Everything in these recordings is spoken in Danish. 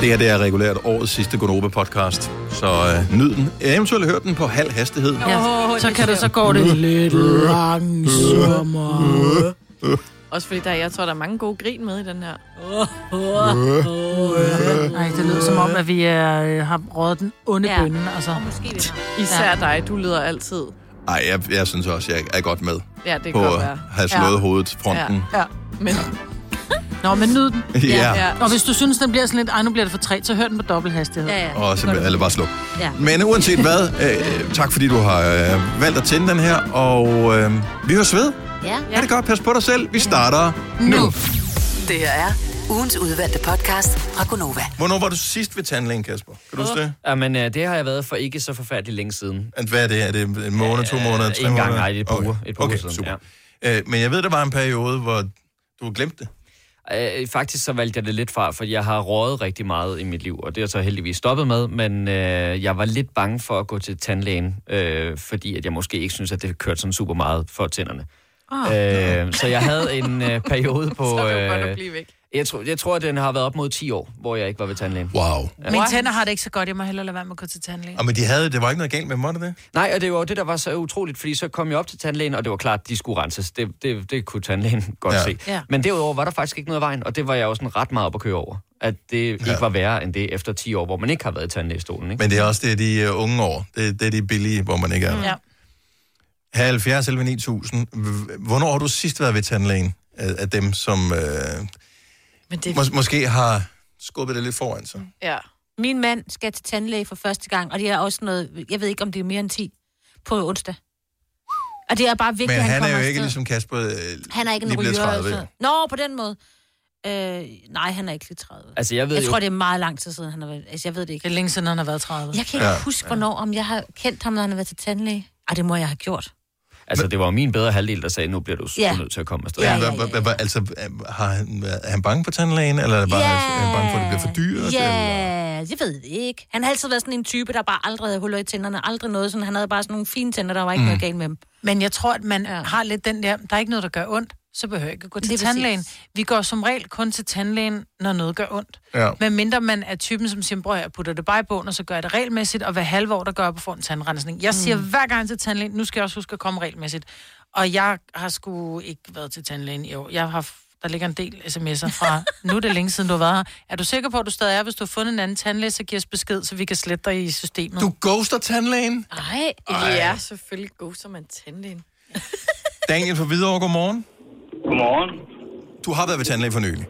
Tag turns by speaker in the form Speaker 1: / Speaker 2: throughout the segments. Speaker 1: det her det er regulært årets sidste Gonova-podcast, så øh, nyd den. Eventuelt hør den på halv hastighed.
Speaker 2: Ja, så kan det, så går det.
Speaker 3: Lidt
Speaker 1: Øh,
Speaker 3: langsommere.
Speaker 4: Også fordi der, jeg tror, der er mange gode grin med i den her.
Speaker 2: Nej, det lyder som om, at vi er, øh, har røget den onde
Speaker 5: Ja.
Speaker 2: ja. bønne. Altså.
Speaker 5: Måske det her.
Speaker 4: Især ja. dig, du lyder altid.
Speaker 1: Ej, jeg, jeg synes også, jeg er godt med
Speaker 4: Ja, det kan
Speaker 1: på
Speaker 4: godt
Speaker 1: at
Speaker 4: være.
Speaker 1: have slået ja. hovedet fronten.
Speaker 2: Ja.
Speaker 4: Men,
Speaker 2: Nå, men nyd den.
Speaker 1: Ja. ja. ja.
Speaker 2: Og hvis du synes, den bliver sådan lidt, ej, nu bliver det for træt, så hør den på dobbelt hastighed.
Speaker 5: Ja, ja.
Speaker 1: Og så, eller bare sluk.
Speaker 5: Ja.
Speaker 1: Men uanset hvad, øh, tak fordi du har øh, valgt at tænde den her, og øh, vi høres ved.
Speaker 5: ja.
Speaker 1: Ja. Er det godt? Pas på dig selv. Vi starter nu. nu.
Speaker 6: Det her er ugens udvalgte podcast fra Gonova.
Speaker 1: Hvornår var du sidst ved tandlægen, Kasper? Kan du huske det?
Speaker 7: Jamen, øh, det har jeg været for ikke så forfærdeligt længe siden.
Speaker 1: At Hvad er det? Er det en måned, to
Speaker 7: Øh,
Speaker 1: måneder,
Speaker 7: en
Speaker 1: tre
Speaker 7: gang,
Speaker 1: måneder?
Speaker 7: nej, det er et par
Speaker 1: okay.
Speaker 7: uger- et par
Speaker 1: okay,
Speaker 7: uger siden,
Speaker 1: super. Ja. Øh, men jeg ved, der var en periode, hvor du glemte det.
Speaker 7: Øh, faktisk så valgte jeg det lidt fra, for jeg har røget rigtig meget i mit liv, og det er jeg så heldigvis stoppet med, men øh, jeg var lidt bange for at gå til tandlægen, øh, fordi at jeg måske ikke synes, at det kørte sådan super meget for tænderne. Oh, øh, så jeg havde en øh, periode på...
Speaker 4: Ah. så er det jo godt at
Speaker 7: øh,
Speaker 4: blive væk.
Speaker 7: jeg, tror, jeg tror, at den har været op mod 10 år, hvor jeg ikke var ved tandlægen.
Speaker 1: Wow.
Speaker 2: Mine tænder har det ikke så godt, jeg må hellere lade være med at gå til tandlæge.
Speaker 1: Og men de havde, det var ikke noget galt med dem, var det det?
Speaker 7: Nej, og det var jo det, der var så utroligt, fordi så kom jeg op til tandlægen, og det var klart, at de skulle renses. Det, det, det kunne tandlægen godt
Speaker 1: Ja.
Speaker 7: ja. se.
Speaker 2: Ja.
Speaker 7: Men derudover var der faktisk ikke noget af vejen, og det var jeg også sådan ret meget op at køre over. At det ikke
Speaker 1: Ja.
Speaker 7: var værre end det efter 10 år, hvor man ikke har været i tandlægestolen. Ikke?
Speaker 1: Men det er også det, er de uh, unge år. Det, det er de billige, hvor man ikke er.
Speaker 2: Ja.
Speaker 1: 70 11 9000. Hv- Hvornår har du sidst været ved tandlægen? Af, af dem, som øh,
Speaker 4: Men det,
Speaker 1: mås- måske har skubbet det lidt foran
Speaker 5: Mm.
Speaker 1: sig.
Speaker 4: ja.
Speaker 5: Min mand skal til tandlæge for første gang, og det er også noget, jeg ved ikke, om det er mere end 10 på onsdag. Og det er bare vigtigt,
Speaker 1: Men
Speaker 5: at han,
Speaker 1: han er
Speaker 5: kommer
Speaker 1: jo ikke
Speaker 5: afsted.
Speaker 1: ligesom Kasper. Øh,
Speaker 5: Han er ikke
Speaker 1: lige
Speaker 5: en
Speaker 1: blevet
Speaker 5: ryger.
Speaker 1: 30,
Speaker 5: Altså. Nå, på den måde. Øh, nej, han er ikke lige 30.
Speaker 7: Altså, jeg ved
Speaker 5: Jeg
Speaker 7: jo...
Speaker 5: tror, det er meget lang tid siden, han har været... Altså, jeg ved det
Speaker 2: Det er
Speaker 5: ikke.
Speaker 2: længe siden, han har været 30.
Speaker 5: Jeg kan ikke
Speaker 1: Ja.
Speaker 5: ja. huske, hvornår, om jeg har kendt ham, når han har været til tandlæge. Ej, det må jeg have gjort.
Speaker 7: Altså, det var jo min bedre halvdel, der sagde, nu bliver du
Speaker 5: Ja.
Speaker 7: ja. nødt til at komme afsted.
Speaker 5: Ja,
Speaker 1: Ja,
Speaker 5: ja,
Speaker 1: ja,
Speaker 5: ja, ja.
Speaker 1: Altså, øh, har han, været- er han bange for tandlægen, eller er det bare, yeah. han bange for, at det bliver for dyrt?
Speaker 5: Ja,
Speaker 1: Eller?
Speaker 5: jeg ved det ikke. Han har altid været sådan en type, der bare aldrig havde huller i tænderne, aldrig noget sådan. Han havde bare sådan nogle fine tænder, der var ikke mm. noget galt med dem.
Speaker 2: Men jeg tror, at man ja. har lidt den der, der er ikke noget, der gør ondt, så behøver jeg ikke at gå til
Speaker 5: Lige
Speaker 2: tandlægen.
Speaker 5: præcis.
Speaker 2: Vi går som regel kun til tandlægen, når noget gør ondt.
Speaker 1: Ja.
Speaker 2: Men mindre man er typen, som siger, "Bror, jeg putter det bare i bogen, og så gør jeg det regelmæssigt, og hver halve år, der gør jeg på for en tandrensning. Jeg siger
Speaker 5: Mm.
Speaker 2: hver gang til tandlægen, nu skal jeg også huske at komme regelmæssigt. Og jeg har sgu ikke været til tandlægen i år. Jeg har f- der ligger en del sms'er fra, nu er det længe siden, du har været her. Er du sikker på, at du stadig er? Hvis du har fundet en anden tandlæge, så giv os besked, så vi kan slette dig i systemet.
Speaker 1: Du ghoster tandlægen?
Speaker 5: Nej.
Speaker 4: Ja, selvfølgelig god som en tandlægen.
Speaker 1: Daniel fra Hvidovre, godmorgen.
Speaker 8: Godmorgen.
Speaker 1: Du har været ved tandlæge for nylig.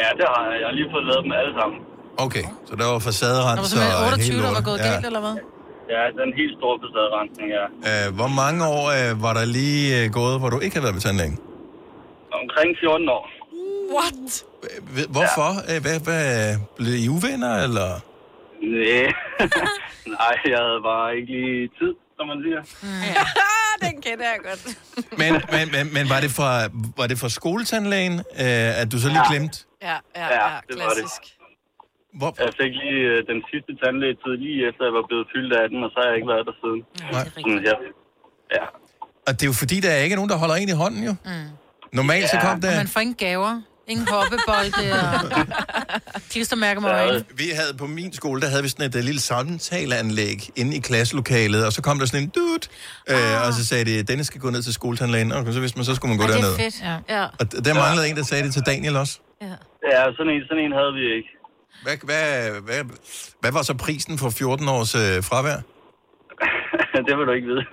Speaker 8: Ja, det har jeg. Jeg har lige fået lavet dem alle sammen.
Speaker 1: Okay, så der var
Speaker 2: Der var
Speaker 1: facaderens
Speaker 2: simpelthen
Speaker 1: og
Speaker 2: 28,
Speaker 1: hele
Speaker 2: der var
Speaker 1: lortet.
Speaker 2: gået
Speaker 1: Altså, Ja.
Speaker 2: galt, eller hvad?
Speaker 8: Ja, den helt store facaderensning, ja.
Speaker 1: Øh, hvor mange år øh, var der lige øh, gået, hvor du ikke havde været ved tandlægen?
Speaker 8: Omkring 14 år.
Speaker 4: What?
Speaker 1: Øh, ved- Hvorfor? Ja. Hvad, hvad, blev I uvenner, eller?
Speaker 8: Næh. Nej, jeg havde bare ikke lige tid, som man siger.
Speaker 4: Den kender jeg godt.
Speaker 1: Men, men, men, men var, det fra, var det fra skoletandlægen, øh, at du så lige ja. glemte?
Speaker 4: Ja, ja,
Speaker 8: Ja,
Speaker 4: ja,
Speaker 8: det var det.
Speaker 4: klassisk.
Speaker 1: Hvor,
Speaker 8: Jeg fik lige øh, den sidste tandlægetid lige efter, jeg var blevet fyldt af den, og så har jeg ikke været der siden. Mm,
Speaker 1: Nej.
Speaker 8: Sådan, ja. ja.
Speaker 1: og det er jo fordi, der er ikke nogen, der holder en i hånden, jo. Mm. Normalt ja. så kom der...
Speaker 2: Man får ingen gaver. Ingen hoppebolde og klistermærker med
Speaker 8: Ja,
Speaker 2: øjnene.
Speaker 1: Vi havde på min skole, der havde vi sådan et, et lille samtaleanlæg inde i klasselokalet, og så kom der sådan en dut, øh, og så sagde de, Dennis skal gå ned til skoletandlægen, og så vidste man, så skulle man gå
Speaker 5: Ej, det
Speaker 1: derned.
Speaker 5: er fedt.
Speaker 2: Ja.
Speaker 5: Ja.
Speaker 1: Og d- der manglede en, der sagde det til Daniel også.
Speaker 5: ja.
Speaker 8: ja, sådan en, sådan en havde vi ikke.
Speaker 1: Hvad, hvad, hvad, hvad var så prisen for 14 års øh, fravær?
Speaker 8: det vil du ikke vide.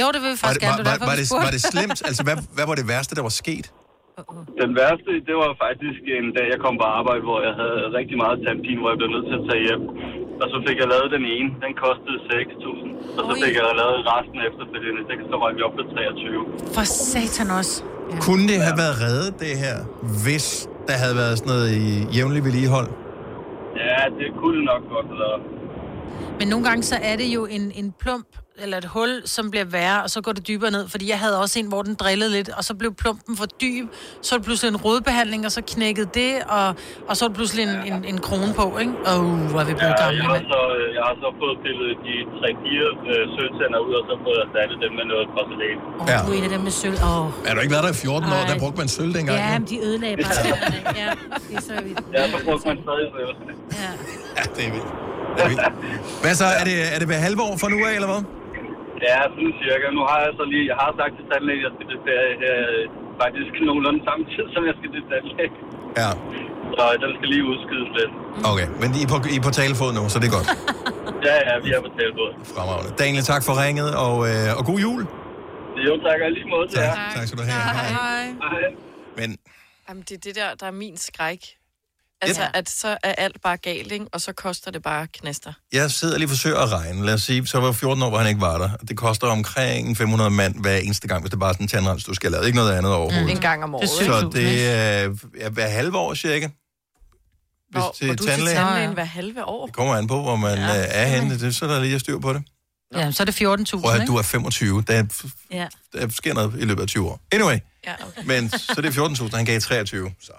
Speaker 2: Jo, det vil vi
Speaker 1: Var
Speaker 2: faktisk
Speaker 1: det, var,
Speaker 2: gerne. Det
Speaker 1: var, var,
Speaker 2: var, derfor, vi
Speaker 1: det,
Speaker 2: spurgte.
Speaker 1: var det slemt? Altså, hvad, hvad var det værste, der var sket?
Speaker 8: den værste, det var faktisk en dag, jeg kom på arbejde, hvor jeg havde rigtig meget tandpine, hvor jeg blev nødt til at tage hjem. Og så fik jeg lavet den ene. Den kostede 6.000. Og så fik jeg lavet resten efterfølgende. Det så var vi op på 23.
Speaker 2: For satan også.
Speaker 1: Kunne det have været reddet, det her, hvis der havde været sådan noget i jævnlig vedligehold?
Speaker 8: Ja, det kunne det nok godt have været.
Speaker 2: Men nogle gange så er det jo en, en plump eller et hul, som bliver værre, og så går det dybere ned. Fordi jeg havde også en, hvor den drillede lidt, og så blev plumpen for dyb. Så var det pludselig en rodbehandling, og så knækkede det, og, og så var det pludselig en, en, en krone på, ikke? Åh, oh, hvor er vi blevet
Speaker 8: Ja,
Speaker 2: gamle,
Speaker 8: jeg, har
Speaker 2: mand.
Speaker 8: så, øh, jeg har så fået pillet de 3-4 øh, søgtænder ud, og så fået erstattet dem med noget porcelæn.
Speaker 5: Åh,
Speaker 1: Ja.
Speaker 5: ja. du er en af dem med sølv. Åh.
Speaker 1: Er du ikke været der i 14 år?
Speaker 5: Ej.
Speaker 1: Der brugte man sølv dengang.
Speaker 5: Ja,
Speaker 1: Ja,
Speaker 5: men de ødelagde bare. Ja, ja. det er så vildt.
Speaker 8: Ja, så brugte man stadig øh,
Speaker 5: Ja.
Speaker 1: ja det er vildt. Det er vildt. Hvad så? Er det, er det hver halve år fra nu af, eller hvad?
Speaker 5: Mm.
Speaker 8: Ja, sådan cirka. Nu har jeg så lige, jeg har sagt til tandlægen, at jeg skal til ferie her, øh, faktisk nogenlunde samtidig, som jeg skal til tandlægen.
Speaker 1: Ja.
Speaker 8: Så øh, den skal lige udskydes lidt.
Speaker 1: Okay, men I er på, I er på talefod nu, så det er godt.
Speaker 8: Ja, ja, vi er på tilbud.
Speaker 1: Fremragende. Daniel, tak for ringet, og, øh, og god jul.
Speaker 8: Jo, tak og i lige måde til jer.
Speaker 1: tak. tak skal du have. Hej.
Speaker 4: Hej.
Speaker 8: Hej.
Speaker 1: Men
Speaker 4: Jamen, det er det der, der er min skræk. Altså,
Speaker 1: Ja.
Speaker 4: ja. at så er alt bare galt, ikke? og så koster det bare knaster.
Speaker 1: jeg sidder lige og forsøger at regne. Lad os sige, så var 14 år, hvor han ikke var der. Det koster omkring 500 mand hver eneste gang, hvis det bare er sådan en tandrens, du skal lave. Ikke noget andet overhovedet.
Speaker 4: En gang om året.
Speaker 2: Det
Speaker 4: ikke?
Speaker 1: Så det er øh, hver halve år cirka. Hvis
Speaker 4: Hvor- hvor
Speaker 1: til
Speaker 4: du er til
Speaker 1: tandlægen.
Speaker 4: tandlægen hver halve år.
Speaker 1: Det kommer an på, hvor man ja, er henne. Det, så er der lige at styr på det.
Speaker 2: Ja, så er det 14.000,
Speaker 1: Prøv at høre,
Speaker 2: ikke?
Speaker 1: du er 25. Der,
Speaker 5: Ja.
Speaker 1: der sker noget i løbet af 20 år. Anyway,
Speaker 4: Ja, okay.
Speaker 1: men så det er 14.000, han gav 23. Så.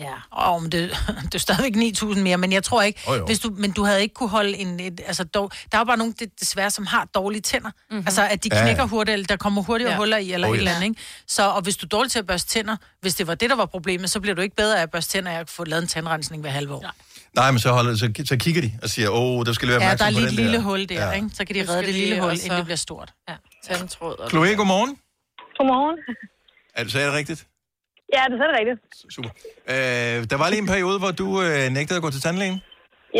Speaker 5: ja.
Speaker 2: Åh, oh, men det, det er stadigvæk 9.000 mere, men jeg tror ikke,
Speaker 1: Jo,
Speaker 2: oh,
Speaker 1: jo.
Speaker 2: hvis du, men du havde ikke kunne holde en, et, altså dog, der er jo bare nogen, det, desværre, som har dårlige tænder. Mm-hmm. Altså, at de
Speaker 1: Ja, ja.
Speaker 2: knækker ja. hurtigt, eller der kommer hurtigere ja.
Speaker 4: Ja.
Speaker 2: huller i, eller
Speaker 1: Oh,
Speaker 2: oh,
Speaker 1: yes.
Speaker 2: et eller andet, ikke? Så, og hvis du er dårlig til at børste tænder, hvis det var det, der var problemet, så bliver du ikke bedre af at børste tænder, af at få lavet en tandrensning hver halve år.
Speaker 1: Nej, men så, holder, så, så kigger de og siger, åh, oh, der skal lige være
Speaker 2: Ja, der er
Speaker 1: opmærksom
Speaker 2: lige
Speaker 1: på
Speaker 2: et
Speaker 1: den
Speaker 2: lille
Speaker 1: der.
Speaker 2: hul der, ja. ikke? Så kan de
Speaker 4: Du
Speaker 2: redde
Speaker 4: skal
Speaker 2: det lille
Speaker 4: lige
Speaker 2: hul,
Speaker 4: også-
Speaker 2: inden det bliver stort.
Speaker 4: Tandtråd. Og...
Speaker 1: Chloe, godmorgen. Altså,
Speaker 3: Godmorgen.
Speaker 1: Er det, sagde jeg det rigtigt?
Speaker 3: Ja, det er så rigtigt.
Speaker 1: Super. Øh, der var lige en periode, hvor du øh, nægtede at gå til tandlægen.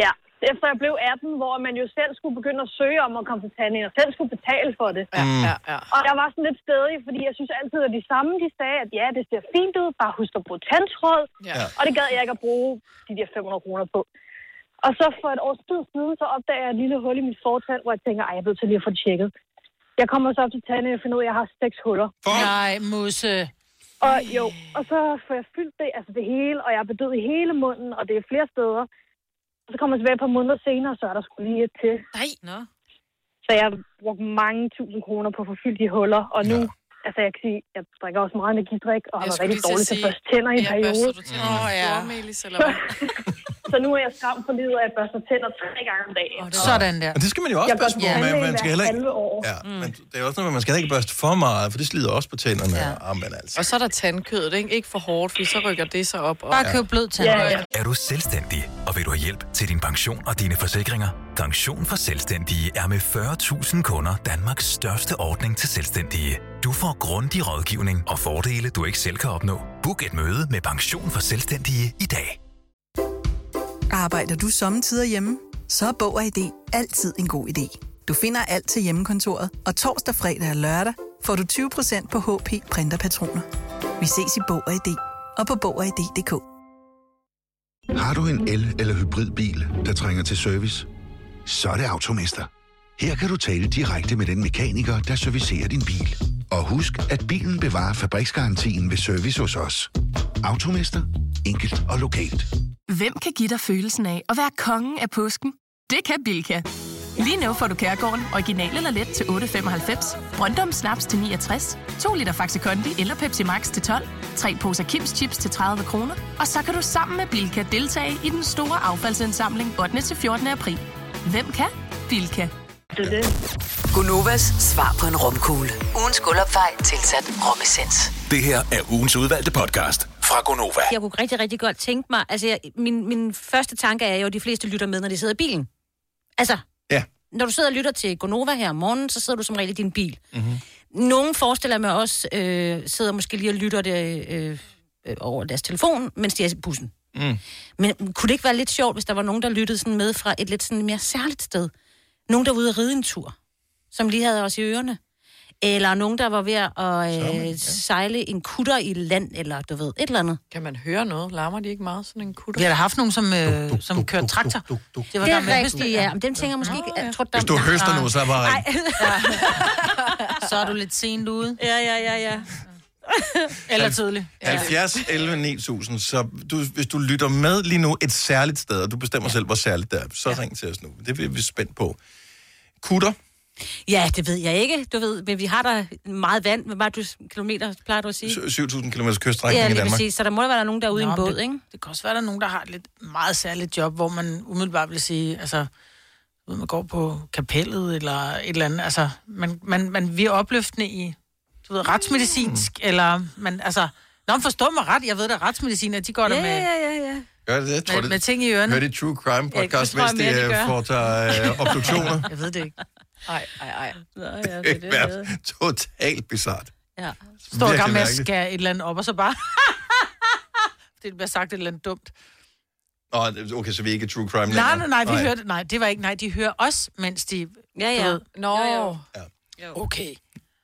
Speaker 3: Ja, efter jeg blev 18, hvor man jo selv skulle begynde at søge om at komme til tandlægen, og selv skulle betale for det. Mm.
Speaker 4: Ja, ja, ja.
Speaker 3: Og jeg var sådan lidt stedig, fordi jeg synes altid, at de samme, de sagde, at ja, det ser fint ud, bare husk at bruge tandtråd.
Speaker 4: ja.
Speaker 3: Og det gad jeg ikke at bruge de der 500 kroner på. Og så for et års tid siden, så opdager jeg et lille hul i mit fortand, hvor jeg tænker, ej, jeg er nødt til lige at få det tjekket. Jeg kommer så op til tandlægen og finder ud, af, at jeg har seks huller.
Speaker 1: For,
Speaker 2: Nej, Musse.
Speaker 3: Og jo, og så får jeg fyldt det, altså det hele, og jeg er bedøvet i hele munden, og det er flere steder. Og så kommer jeg tilbage et par måneder senere, så er der skulle lige et til.
Speaker 4: Nej.
Speaker 5: Nå.
Speaker 3: Så jeg har brugt mange tusind kroner på at få fyldt de huller, og nu, altså jeg kan sige, jeg drikker også meget energidrik, og har
Speaker 4: Jeg
Speaker 3: været
Speaker 4: skulle
Speaker 3: rigtig
Speaker 4: lige til at
Speaker 3: dårlig til
Speaker 4: sige,
Speaker 3: først tænder i en
Speaker 4: Ja,
Speaker 3: periode.
Speaker 4: børster du tænder med
Speaker 2: Åh, ja.
Speaker 4: flormelis, eller hvad?
Speaker 3: Så nu er jeg skam for livet, at jeg børster tænder tre gange om dagen.
Speaker 2: Sådan der.
Speaker 1: Men det skal man jo også
Speaker 3: Jeg
Speaker 1: passe
Speaker 3: børster
Speaker 1: på med. Man
Speaker 3: tandlægen
Speaker 1: skal
Speaker 3: hver
Speaker 1: heller ikke...
Speaker 3: halve år. Mm.
Speaker 1: Ja, men det er også noget, med, man skal heller ikke børste for meget, for det slider også på tænderne. Ja. Ah, men altså.
Speaker 4: Og så er der tandkødet, ikke? Ikke for hårdt, for så rykker det sig op. Og...
Speaker 2: Bare køb blød tand.
Speaker 3: Ja,
Speaker 2: Ja,
Speaker 3: ja.
Speaker 2: ja.
Speaker 9: Er du selvstændig, og vil du have hjælp til din pension og dine forsikringer? Pension for Selvstændige er med 40.000 kunder Danmarks største ordning til selvstændige. Du får grundig rådgivning og fordele, du ikke selv kan opnå. Book et møde med Pension for Selvstændige i dag.
Speaker 10: Arbejder du sommetider hjemme? Så er Bog og ID altid en god idé. Du finder alt til hjemmekontoret, og torsdag, fredag og lørdag får du 20% på HP printerpatroner. Vi ses i Bog og ID og på Bog og ID.dk.
Speaker 11: Har du en el- eller hybridbil, der trænger til service? Så er det Automester. Her kan du tale direkte med den mekaniker, der servicerer din bil. Og husk, at bilen bevarer fabriksgarantien ved service hos os. Automester. Enkelt og lokalt.
Speaker 12: Hvem kan give dig følelsen af at være kongen af påsken? Det kan Bilka! Lige nu får du Kærgården original eller let til 8.95, Brøndum Snaps til 69, 2 liter Faxi Kondi eller Pepsi Max til 12, 3 poser Kims Chips til 30 kroner, og så kan du sammen med Bilka deltage i den store affaldsindsamling 8. til 14. april. Hvem kan? Bilka.
Speaker 6: Gunovas svar på en romkugle. Ugens guldopfej tilsat romessens.
Speaker 9: Det her er ugens udvalgte podcast fra Gonova.
Speaker 5: Jeg kunne rigtig, rigtig godt tænke mig... Altså, jeg, min, min første tanke er jo, at de fleste lytter med, når de sidder i bilen. Altså,
Speaker 1: Ja.
Speaker 5: når du sidder og lytter til Gonova her om morgenen, så sidder du som regel i din bil. Mm-hmm. Nogle forestiller mig også, øh, sidder måske lige og lytter det øh, øh, over deres telefon, mens de er i bussen. Mm. Men kunne det ikke være lidt sjovt, hvis der var nogen, der lyttede sådan med fra et lidt sådan mere særligt sted? Nogen, der var ude at ride en tur, som lige havde os i ørerne. Eller nogen, der var ved at øh,
Speaker 1: Sørme, ja.
Speaker 5: sejle en kutter i land, eller du ved, et eller andet.
Speaker 4: Kan man høre noget? Larmer de ikke meget, sådan en kutter?
Speaker 2: Vi har da haft nogen, som, øh, som kørte traktor. var
Speaker 5: Det
Speaker 2: der
Speaker 5: er
Speaker 2: med
Speaker 5: rigtigt, ja. Men dem tænker jeg måske ikke... Jeg tror, der,
Speaker 1: Hvis du høster nu, så er det bare ring.
Speaker 2: Så er du lidt sent ude.
Speaker 5: Ja, ja, ja, ja.
Speaker 2: Eller tidligt.
Speaker 1: 70, 11, 9000. Så du, hvis du lytter med lige nu et særligt sted, og du bestemmer ja. selv, hvor særligt det er, så ja. ring til os nu. Det er vi spændt på. Kutter,
Speaker 5: Ja, det ved jeg ikke, du ved, men vi har der meget vand. Hvor meget du, kilometer, plejer du at sige?
Speaker 1: 7.000 km kyststrækning
Speaker 5: Ja,
Speaker 1: i
Speaker 5: lige
Speaker 1: Danmark.
Speaker 5: præcis. Så der må da være nogen derude i
Speaker 2: Nå,
Speaker 5: en
Speaker 2: men
Speaker 5: båd,
Speaker 2: det,
Speaker 5: ikke?
Speaker 2: Det kan også være, at der er nogen, der har et lidt meget særligt job, hvor man umiddelbart vil sige, altså, du ved, man går på kapellet eller et eller andet. Altså, man, man, man vi er opløftende i, du ved, retsmedicinsk, mm. eller man, altså, Nå, men forstå mig ret, jeg ved da, retsmediciner, de går der
Speaker 5: Ja,
Speaker 2: med,
Speaker 5: ja, ja, ja.
Speaker 1: Gør det det? Jeg tror,
Speaker 2: med,
Speaker 1: det-
Speaker 2: med ting i ørerne.
Speaker 1: Hør det True Crime
Speaker 2: Ja, det
Speaker 1: podcast,
Speaker 2: tror jeg
Speaker 1: mens de
Speaker 2: mere, de
Speaker 1: øh,
Speaker 2: gør.
Speaker 1: foretager øh, obduktioner.
Speaker 2: Jeg ved det ikke.
Speaker 4: Ej, ej, ej. Nå, ja, det, er
Speaker 1: Det
Speaker 4: det,
Speaker 1: er
Speaker 4: det.
Speaker 1: totalt bizart.
Speaker 5: Ja.
Speaker 2: Står i
Speaker 1: Virkelig
Speaker 2: gang med at
Speaker 1: mærkeligt.
Speaker 2: skære et eller andet op, og så bare... det bliver sagt et eller andet dumt.
Speaker 1: Nå, okay, så vi er ikke True Crime
Speaker 2: Nej, nej, nej, vi hørte... Nej, det var ikke... Nej, de hører os, mens de...
Speaker 5: Ja, ja.
Speaker 2: Nå. Ja. Okay.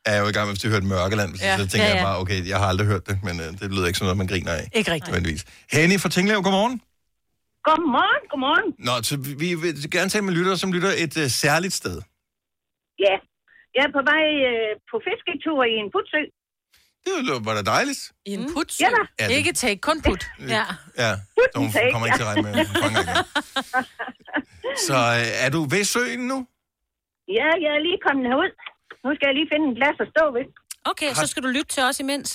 Speaker 1: Jeg er jo i gang med, hvis de hørte Mørkeland, ja.
Speaker 2: Ja.
Speaker 1: så tænker
Speaker 2: Ja,
Speaker 1: ja, ja. jeg
Speaker 2: ja.
Speaker 1: bare, okay, jeg har aldrig hørt det, men øh, det lyder ikke som noget, man griner af.
Speaker 2: Ikke rigtigt.
Speaker 1: Nødvendigvis. Henny fra Tinglev, godmorgen.
Speaker 13: Godmorgen, godmorgen.
Speaker 1: Nå, så vi vi vil gerne tale med lyttere, som lytter et øh, særligt sted.
Speaker 13: Ja, jeg er på vej øh, på fisketur i en putsø.
Speaker 1: Det lyder- var da dejligt.
Speaker 2: I
Speaker 5: Mm.
Speaker 2: en put?
Speaker 13: Ja da.
Speaker 1: Ja, det- Ikke
Speaker 2: take, kun put.
Speaker 13: ja.
Speaker 1: Ja, så hun
Speaker 13: Putten take,
Speaker 1: kommer ikke til at regne med, at hun fanger igen. Så øh, er du ved søen nu?
Speaker 13: ja, jeg er lige kommet herud. Nu skal jeg lige finde en plads at stå ved.
Speaker 5: Okay, så skal du lytte til os imens.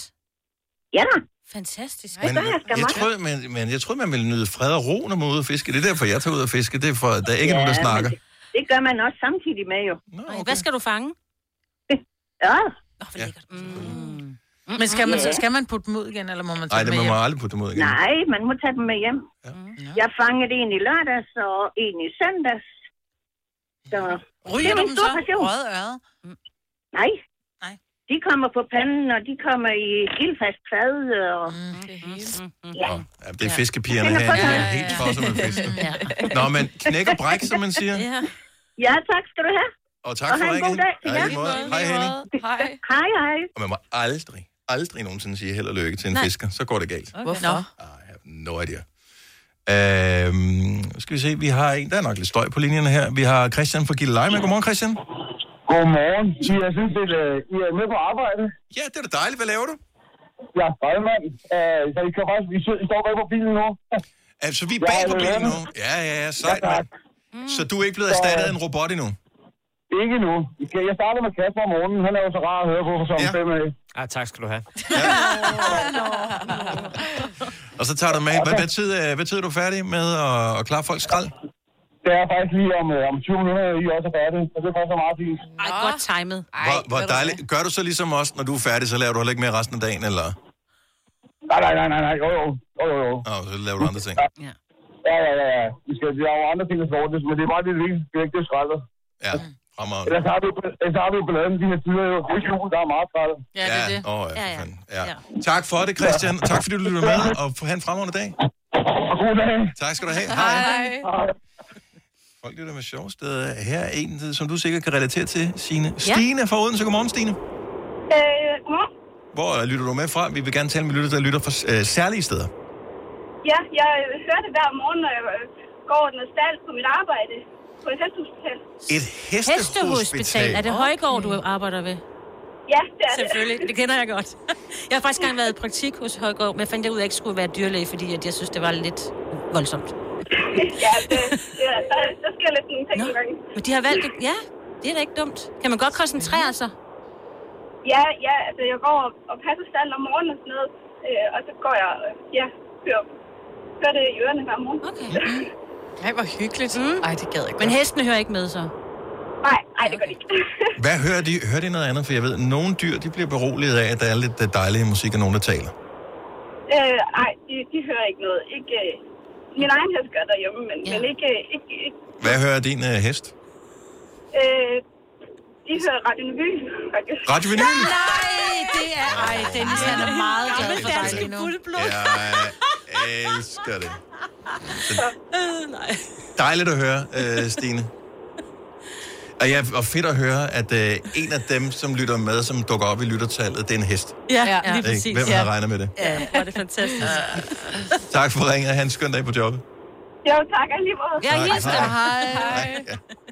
Speaker 13: Ja da.
Speaker 5: Fantastisk.
Speaker 1: Men, jeg, troede, men, men jeg troede, man ville nyde fred og ro, når man er ude at fiske. Det er derfor, jeg tager ud og fiske. Det er for, der er ikke ja,
Speaker 13: Ja,
Speaker 1: nogen,
Speaker 13: men
Speaker 1: der snakker.
Speaker 13: Det gør man også samtidig med jo.
Speaker 1: Nå,
Speaker 5: okay. Hvad skal du fange?
Speaker 13: Ja.
Speaker 2: Men skal man, så,
Speaker 13: Ja.
Speaker 2: skal man putte dem ud igen, eller må man tage
Speaker 1: Nej,
Speaker 2: dem
Speaker 1: det
Speaker 2: med
Speaker 1: må man
Speaker 2: hjem?
Speaker 1: aldrig putte dem ud igen.
Speaker 13: Nej, man må tage dem med hjem.
Speaker 2: Mm,
Speaker 13: Ja. Jeg fangede en i lørdags og en i søndags. Så
Speaker 2: Ryger
Speaker 13: det
Speaker 2: du
Speaker 13: er min
Speaker 2: dem så?
Speaker 13: store passion.
Speaker 2: Røde øret?
Speaker 13: Nej. De kommer på panden, og de kommer i ildfast fad. Og... Mm. Ja.
Speaker 1: Ja, det er fiskepigerne
Speaker 13: Jeg
Speaker 1: her.
Speaker 13: finder på
Speaker 1: De er
Speaker 13: noget.
Speaker 1: helt tosset med fisk.
Speaker 13: Ja.
Speaker 1: Nå, men knæk og bræk, som man siger.
Speaker 13: ja, tak skal du have.
Speaker 1: Og tak
Speaker 13: og
Speaker 1: for
Speaker 13: have en
Speaker 1: ringen.
Speaker 13: god dag.
Speaker 1: Ja, i lige måde. Hej, Henning.
Speaker 13: Hej. Hej, hej.
Speaker 1: Og man må aldrig, aldrig nogensinde sige held og lykke til en
Speaker 13: Nej.
Speaker 1: fisker. Så går det galt.
Speaker 13: Okay. Hvorfor?
Speaker 1: No idea. Øhm, skal vi se, vi har en, der er nok lidt støj på linjerne her. Vi har Christian fra Gilleleje med. Godmorgen, Christian.
Speaker 14: Godmorgen. I er sådan set øh, I er med på arbejde.
Speaker 1: Ja, det er da dejligt. Hvad laver du?
Speaker 14: Jeg er brandmand, øh, så I, kan faktisk, I, sidder- I står bag på bilen nu.
Speaker 1: Altså, vi er bag på bilen nu? Ja, ja, ja, sejt, mand. Så du er ikke blevet erstattet
Speaker 14: øh,
Speaker 1: af en robot endnu?
Speaker 14: Ikke nu. Jeg startede med Kasper om morgenen. Han er jo så rar at høre på for sådan ja. fem af.
Speaker 7: Ah, tak skal du have.
Speaker 1: Og så tager du med. Hvad, hvad, tid, øh, hvad tid er du færdig med at, at klare folks skrald?
Speaker 14: Det er faktisk lige om, øh, om 20 minutter, I også er færdige. Så det er faktisk meget fint.
Speaker 5: Ej, godt timet.
Speaker 1: Hvor, hvor dejligt. Gør du så ligesom os, når du er færdig, så laver du heller ikke mere resten af dagen, eller?
Speaker 14: Nej, nej, nej, nej, nej. Jo, jo. Jo, jo, jo.
Speaker 1: Nå, så laver du andre ting.
Speaker 14: Ja, ja, ja. ja. Vi skal, vi har jo andre ting, der skal ordnes, men det er bare det vigtigste. Det er ikke det skraldet.
Speaker 1: Ja, fremragende.
Speaker 14: Ellers har vi, ellers har vi jo balladen de her tider. Jo. Det er ikke nogen, der er meget skraldet.
Speaker 1: Ja, det er det. Åh, ja, for fanden. Ja. Tak for det, Christian. Tak fordi du lytter med, og have en fremragende dag.
Speaker 14: Og god dag.
Speaker 1: Tak skal du have. Hej. Folk lytter med sjove steder. Her er en, som du sikkert kan relatere til, Signe. Stine fra Odense. Godmorgen, Stine.
Speaker 15: Øh, godmorgen.
Speaker 1: Hvor øh, lytter du med fra? Vi vil gerne tale med lytter, der lytter fra øh, særlige steder.
Speaker 15: Ja, jeg øh, hører det hver morgen, når jeg øh, går den stald på mit arbejde på et hestehospital.
Speaker 1: Et hestehospital.
Speaker 5: Er det Højgaard, du
Speaker 2: Mm.
Speaker 5: arbejder ved?
Speaker 15: Ja, det er det.
Speaker 5: Selvfølgelig, det kender jeg godt. Jeg har faktisk engang været i praktik hos Højgaard, men jeg fandt ud af, at jeg ikke skulle være dyrlæge, fordi at jeg synes, det var lidt voldsomt.
Speaker 15: ja, det, det, er- der, der sker lidt nogle ting nogle gange.
Speaker 5: Men de har valgt det. Ja, det er da ikke dumt. Kan man godt koncentrere sig?
Speaker 15: Ja, ja, altså jeg går og, og passer stallen om morgenen og sådan noget, øh, og så går jeg, øh, ja, hører, hører det i ørerne hver morgen. Okay.
Speaker 4: Ej, hvor hyggeligt. Mm. Ej, det gad jeg godt.
Speaker 5: Men hestene hører ikke med så.
Speaker 15: Nej, nej, det gør det ikke.
Speaker 1: Hvad hører de? Hører de noget andet? For jeg ved, nogle dyr de bliver beroliget af, at der er lidt øh, dejlig musik og nogen, der taler.
Speaker 15: Øh, nej, de, de hører ikke noget. Ikke, øh, min egen hest gør derhjemme, men, ja. men ikke, øh, ikke, ikke
Speaker 1: Hvad hører din øh, hest?
Speaker 15: øh, de hører Radio Neby, faktisk.
Speaker 1: Radio Vinyl?
Speaker 5: Ah, Nej, det er... Ej, Dennis, han er meget glad for dig lige nu.
Speaker 1: Jeg elsker det.
Speaker 5: Øh,
Speaker 1: Dejligt at høre, øh, Stine. Og, ja, og fedt at høre, at øh, en af dem, som lytter med, som dukker op i lyttertallet, det er en hest.
Speaker 5: Ja, ja, lige
Speaker 1: Ikke?
Speaker 5: præcis.
Speaker 1: Hvem havde regnet med det?
Speaker 5: Ja, hvor er det fantastisk.
Speaker 1: Tak for ringet. Ha' en skøn dag på jobbet.
Speaker 15: Jo, tak alligevel.
Speaker 1: Ja, Tak, hils hej. dem.
Speaker 5: Hej.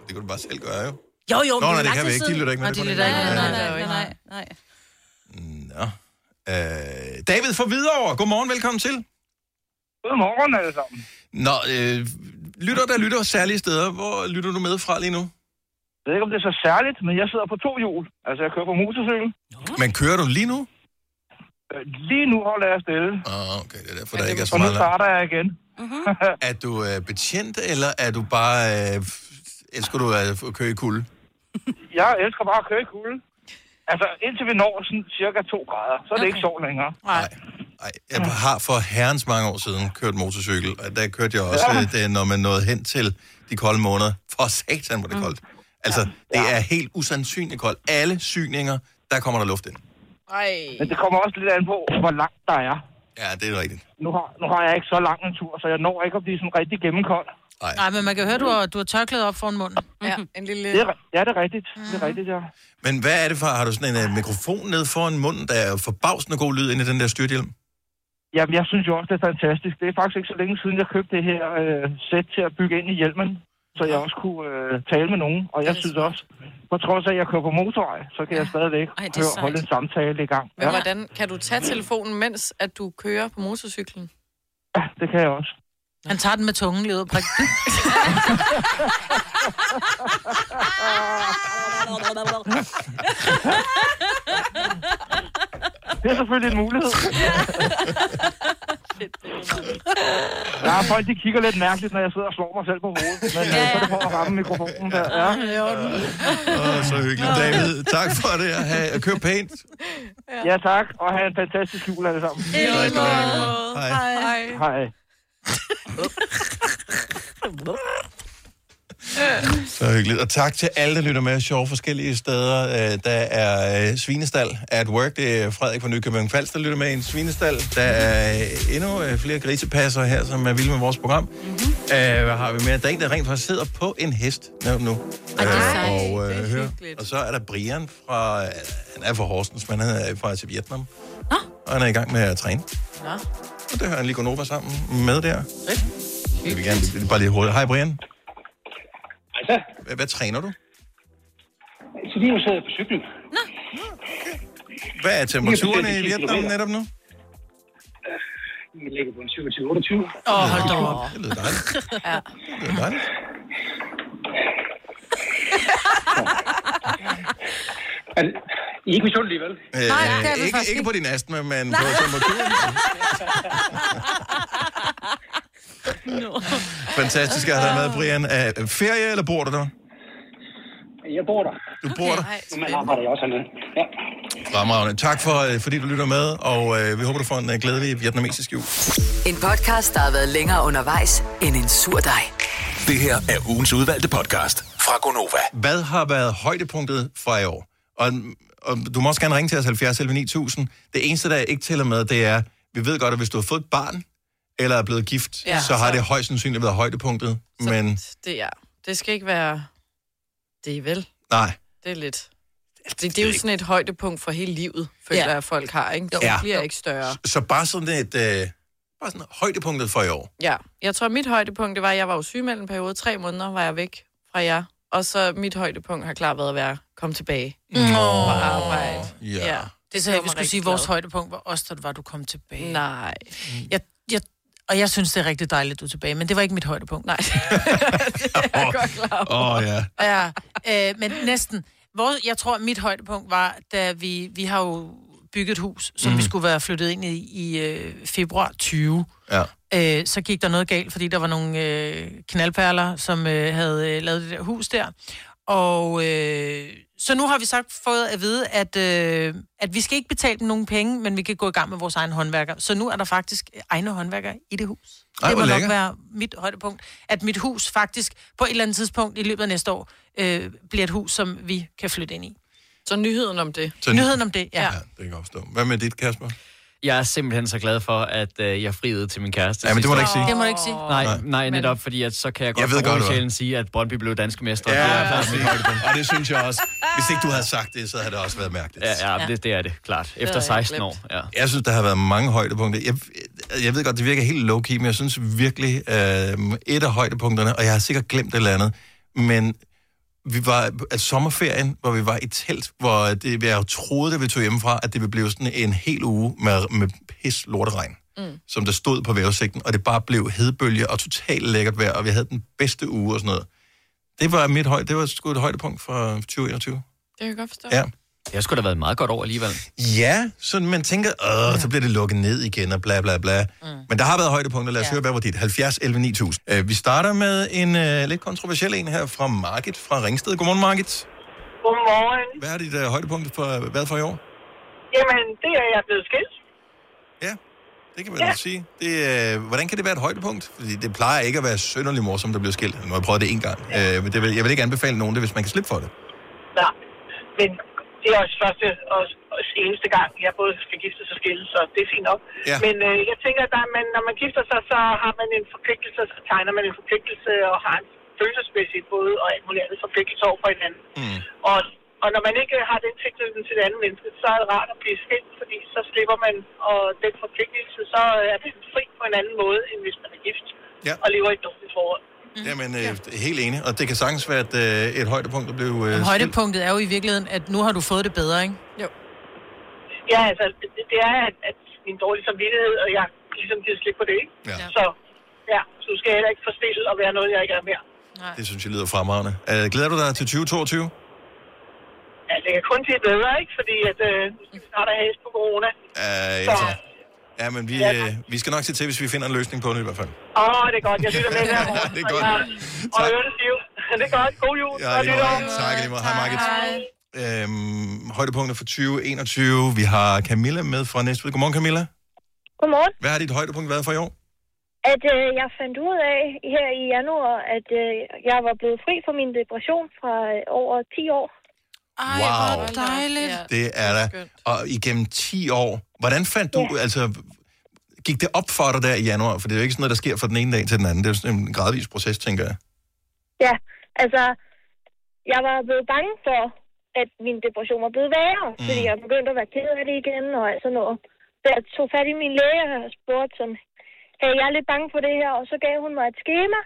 Speaker 1: Det kunne du bare selv gøre, jo.
Speaker 5: Jo, jo, men
Speaker 1: Nå, nej,
Speaker 5: det er
Speaker 1: det
Speaker 5: lang
Speaker 1: kan
Speaker 5: tid
Speaker 1: vi ikke. De
Speaker 5: siden.
Speaker 1: lytter ikke med
Speaker 5: Nå,
Speaker 1: det.
Speaker 5: de
Speaker 1: på
Speaker 5: lytter
Speaker 1: den
Speaker 5: ikke
Speaker 1: måde.
Speaker 5: med.
Speaker 1: Ja,
Speaker 5: Nej,
Speaker 1: ja, ja.
Speaker 5: nej, nej,
Speaker 1: Nå. Øh,
Speaker 5: nej.
Speaker 1: David fra Hvidovre. Godmorgen, velkommen til.
Speaker 14: Godmorgen alle sammen.
Speaker 1: Nå, øh, lytter der lytter særlige steder. Hvor lytter du med fra lige nu?
Speaker 16: Jeg ved ikke, om det er så særligt, men jeg sidder på to hjul. Altså, jeg kører på motorcykel.
Speaker 1: Men kører du lige nu?
Speaker 16: Øh, Lige nu holder jeg stille.
Speaker 1: Ah, okay, det er derfor, der ikke er så
Speaker 16: Og nu
Speaker 1: meget larm.
Speaker 16: starter jeg igen.
Speaker 1: Er du øh, betjent, eller er du bare... Øh, f- elsker du at f- køre i kulde?
Speaker 16: Jeg elsker bare at køre i kulde. Altså, indtil vi når sådan cirka 2 grader, så er det okay. ikke sjovt længere.
Speaker 2: Nej.
Speaker 1: Jeg har for herrens mange år siden kørt motorcykel, og der kørte jeg også,
Speaker 16: Ja.
Speaker 1: ja. det, når man nåede hen til de kolde måneder. For satan,
Speaker 16: Mm.
Speaker 1: hvor det er koldt. Altså, det er helt usandsynligt koldt. Alle syninger, der kommer der luft ind.
Speaker 4: Ej.
Speaker 16: Men det kommer også lidt an på, hvor langt der er.
Speaker 1: Ja, det er rigtigt.
Speaker 16: Nu har, nu har jeg ikke så lang en tur, så jeg når ikke at blive sådan rigtig gennemkold.
Speaker 2: Nej, men man kan høre, du har, du har tørklæde op foran munden.
Speaker 4: Ja, Ah. en lille...
Speaker 16: Det er, ri- ja, det er rigtigt. Det er rigtigt, ja.
Speaker 1: Men hvad er det for? Har du sådan en uh, mikrofon ned foran munden, der er forbavsende god lyd inde i den der styrthjelm?
Speaker 16: Jamen, jeg synes jo også, det er fantastisk. Det er faktisk ikke så længe siden, jeg købte det her øh, sæt til at bygge ind i hjelmen, så
Speaker 4: Ah.
Speaker 16: jeg også kunne øh, tale med nogen. Og jeg synes også, på trods af, at jeg kører på motorvej, så kan jeg stadigvæk
Speaker 4: Ej, det er
Speaker 16: høre,
Speaker 4: sejt.
Speaker 16: holde en samtale i gang.
Speaker 4: Men hvordan kan du tage telefonen, mens at du kører på motorcyklen?
Speaker 16: det kan jeg også.
Speaker 2: Han tager den med tungen lige ud og prikker.
Speaker 16: Det er selvfølgelig en mulighed. Der er folk, de kigger lidt mærkeligt, når jeg sidder og slår mig selv på hovedet. Men ja, ja. så er det for at ramme mikrofonen der. Ja.
Speaker 1: Åh, så hyggeligt, David. Tak for det, og have, kør pænt.
Speaker 16: ja, tak. Og have en fantastisk jul alle sammen.
Speaker 1: Tak skal du have. Hej.
Speaker 4: Hej.
Speaker 16: Hej.
Speaker 1: Så hyggeligt. Og tak til alle, der lytter med. Sjove forskellige steder. Øh, Der er øh, Svinestal at work. Det er Frederik fra Nykøbing Falster, der lytter med i en Svinestal. Der er øh, endnu øh, flere grisepasser her, som er vilde med vores program. Mm-hmm. Hvad har vi mere? Der er en, der rent faktisk sidder på en hest nu. nu. Øh, og, øh, hører. og så er der Brian fra... øh, Han er fra Horsens, men han er fra til Vietnam. Og han er i gang med at træne.
Speaker 4: Nå.
Speaker 1: Og det hører han lige Gonova sammen med der. Jeg vil gerne det er bare lige hurtigt. Hej Brian.
Speaker 17: Hej så.
Speaker 1: Hvad, hvad træner du?
Speaker 17: Så lige nu sidder jeg på cyklen.
Speaker 1: Hvad er
Speaker 17: Det
Speaker 1: temperaturerne
Speaker 17: er
Speaker 1: i
Speaker 17: fem
Speaker 1: Vietnam
Speaker 17: kilometer.
Speaker 1: netop nu?
Speaker 17: Jeg ligger på en 27-28.
Speaker 2: Åh, oh, hold da op.
Speaker 1: Det lyder dejligt. Det lyder dejligt.
Speaker 17: I er ikke misundelige, vel?
Speaker 1: Øh, ikke, ikke på din astma, men på temperaturen. Fantastisk at have dig med, Brian. Er ferie, eller bor du der?
Speaker 17: Jeg bor der.
Speaker 1: Du bor der?
Speaker 17: Men man arbejder jeg også hernede. Ja.
Speaker 1: Fremragende. Tak for, øh, fordi du lytter med, og øh, vi håber, du får en øh, glædelig vietnamesisk jul.
Speaker 6: En podcast, der har været længere undervejs end en sur dej.
Speaker 9: Det her er ugens udvalgte podcast fra Gonova.
Speaker 1: Hvad har været højdepunktet fra i år? Og, mm, og du må også gerne ringe til os 70 11 9000. Det eneste, der ikke tæller med, det er, vi ved godt, at hvis du har fået et barn, eller er blevet gift,
Speaker 4: Ja,
Speaker 1: ja, så har
Speaker 4: så-
Speaker 1: det højst sandsynligt været højdepunktet. Men
Speaker 4: Det er... Det skal ikke være... Det er vel.
Speaker 1: nej,
Speaker 4: Det er lidt... Det, det er jo sådan et højdepunkt for hele livet, føler jeg, at folk har, ikke? Det
Speaker 1: Ja.
Speaker 4: bliver ikke større.
Speaker 1: så bare sådan et... Øh, bare sådan højdepunktet for i år.
Speaker 4: Ja, jeg tror, mit højdepunkt, det var, at jeg var jo sygemeldt en periode. Tre måneder var jeg væk fra jer. Og så mit højdepunkt har klart været at være komme tilbage.
Speaker 2: Nå.
Speaker 4: Og arbejde.
Speaker 1: Ja.
Speaker 2: Det sagde jeg, vi skulle sige, at vores højdepunkt var også, da det var, du kom tilbage. Mm.
Speaker 4: Nej.
Speaker 2: Jeg, jeg, og jeg synes, det er rigtig dejligt, du er tilbage, men det var ikke mit højdepunkt. Nej.
Speaker 1: Åh oh, ja.
Speaker 2: Ja, øh, men næsten. Vores, jeg tror, mit højdepunkt var, da vi, vi har jo bygget et hus, som
Speaker 1: Mm.
Speaker 2: mm. vi skulle være flyttet ind i i øh, februar 20.
Speaker 1: Ja.
Speaker 2: Øh, så gik der noget galt, fordi der var nogle øh, knaldperler, som øh, havde øh, lavet det der hus der. Og øh, så nu har vi sagt fået at vide, at, øh, at vi skal ikke betale dem nogen penge, men vi kan gå i gang med vores egne håndværker. Så nu er der faktisk egne håndværker i det hus.
Speaker 1: Ej,
Speaker 2: det
Speaker 1: hvor
Speaker 2: må nok
Speaker 1: lækkert.
Speaker 2: være mit højdepunkt. At mit hus faktisk på et eller andet tidspunkt i løbet af næste år øh, bliver et hus, som vi kan flytte ind i.
Speaker 4: Så nyheden om det.
Speaker 1: Så-
Speaker 2: Nyheden om det, ja. ja.
Speaker 1: Det kan jeg godt forstå. Hvad med dit, Kasper?
Speaker 7: Jeg er simpelthen så glad for, at øh, jeg friede til min kæreste.
Speaker 1: Ja, men det må du
Speaker 7: sidste
Speaker 1: ikke sige.
Speaker 7: år.
Speaker 2: Det må du ikke sige.
Speaker 7: Nej, nej, netop, fordi at, så kan jeg godt
Speaker 1: Jeg ved
Speaker 7: fra
Speaker 1: godt,
Speaker 7: ro i
Speaker 1: hvad.
Speaker 7: sjælen sige, at Brøndby blev danske mester.
Speaker 1: Ja,
Speaker 7: Det er klart
Speaker 1: præcis.
Speaker 7: mit højdepunkt.
Speaker 1: og det synes jeg også. Hvis ikke du havde sagt det, så havde det også været mærkeligt.
Speaker 7: Ja, ja, det, det er det, klart.
Speaker 1: havde
Speaker 7: Efter
Speaker 1: jeg
Speaker 7: 16
Speaker 1: glemt.
Speaker 7: år, ja.
Speaker 1: Jeg synes, der har været mange højdepunkter. Jeg, jeg ved godt, det virker helt low-key, men jeg synes virkelig, øh, et af højdepunkterne, og jeg har sikkert glemt et eller andet, men vi var at sommerferien, hvor vi var i telt, hvor det, jeg troede, da vi tog hjemmefra, at det ville blive sådan en hel uge med, med pis lorteregn, mm. som der stod på vejrudsigten, og det bare blev hedebølge og totalt lækkert vejr, og vi havde den bedste uge og sådan noget. Det var mit høj, det var sgu et højdepunkt fra 2021.
Speaker 4: Det kan jeg godt forstå.
Speaker 1: Ja.
Speaker 7: Jeg skulle da været meget godt over alligevel.
Speaker 1: Ja, så man tænker, åh, så bliver det lukket ned igen og bla bla bla. Mm. Men der har været højdepunkter. Lad os ja. høre, hvad var dit? 70 11 9000. Uh, vi starter med en uh, lidt kontroversiel en her fra Market fra Ringsted. Godmorgen, Market.
Speaker 18: Godmorgen.
Speaker 1: Hvad er dit uh, højdepunkt for, hvad for i år?
Speaker 18: Jamen, det er jeg blevet skilt.
Speaker 1: Det kan man ja. sige. Det, øh, hvordan kan det være et højdepunkt? Fordi det plejer ikke at være sønderlig morsomt, der bliver skilt. Nu har jeg prøvet det en gang. Ja. Øh, men det vil, jeg vil ikke anbefale nogen det, hvis man kan slippe for det.
Speaker 18: Nej, men det er også første og og eneste gang, jeg både skal gifte sig og skille, så det er fint nok.
Speaker 1: Ja.
Speaker 18: Men øh, jeg tænker, at der, er- man, når man gifter sig, så har man en forpligtelse, så tegner man en forpligtelse og har en følelsesmæssig både og alt muligt andet forpligtelse over for hinanden.
Speaker 1: Mm.
Speaker 18: Og, og når man ikke har den tilknytning til det andet menneske, så er det rart at blive skilt, fordi så slipper man, og den forpligtelse, så er den fri på en anden måde, end hvis man er gift
Speaker 1: Ja.
Speaker 18: og lever i et dårligt forhold.
Speaker 1: Jamen, øh, ja. helt enig. Og det kan sagtens være et, øh, et højdepunkt, der blev øh,
Speaker 2: Men
Speaker 1: skilt.
Speaker 2: højdepunktet er jo i virkeligheden, at nu har du fået det bedre, ikke? Jo.
Speaker 18: Ja, altså, det- det er, at, at min dårlige samvittighed, og jeg ligesom givet slip på det, ikke?
Speaker 1: Ja.
Speaker 18: Så, ja, så skal jeg heller ikke forstille og være noget, jeg ikke er mere.
Speaker 1: Det synes jeg lyder fremragende. Øh, glæder du dig til 2022?
Speaker 18: Ja, det kan kun blive bedre, ikke? Fordi at, øh, nu skal vi snart have hæs på corona.
Speaker 1: Øh, ja,
Speaker 18: Så.
Speaker 1: tak. ja, men vi, øh, vi skal nok se til, hvis vi finder en løsning på det i hvert fald.
Speaker 18: Åh, det er godt. Jeg lytter med hver morgen.
Speaker 1: Det er godt.
Speaker 18: Og, og hører det liv. Det er godt. God jul.
Speaker 1: Ja, lige måde. Tak, lige måde. Hej, Margit. Øhm, højdepunkter for 2021. Vi har Camilla med fra Næstved. Godmorgen, Camilla.
Speaker 19: Godmorgen.
Speaker 1: Hvad har dit højdepunkt været for i år?
Speaker 19: At øh, jeg fandt ud af her i januar, at øh, jeg var blevet fri for min depression fra øh, over 10 år.
Speaker 2: Ej,
Speaker 1: Wow.
Speaker 2: hvor dejligt. Ja.
Speaker 1: Det er da. Og igennem 10 år. Hvordan fandt du, altså, gik det op for dig der i januar? For det er jo ikke sådan noget, der sker fra den ene dag til den anden. Det er jo sådan en gradvis proces, tænker jeg.
Speaker 19: Ja, altså, jeg var blevet bange for, at min depression var blevet værre, mm. fordi jeg begyndte at være ked af det igen og alt sådan noget. Så jeg tog fat i min læge og spurgte sådan, hey, jeg er lidt bange for det her, og så gav hun mig et schema.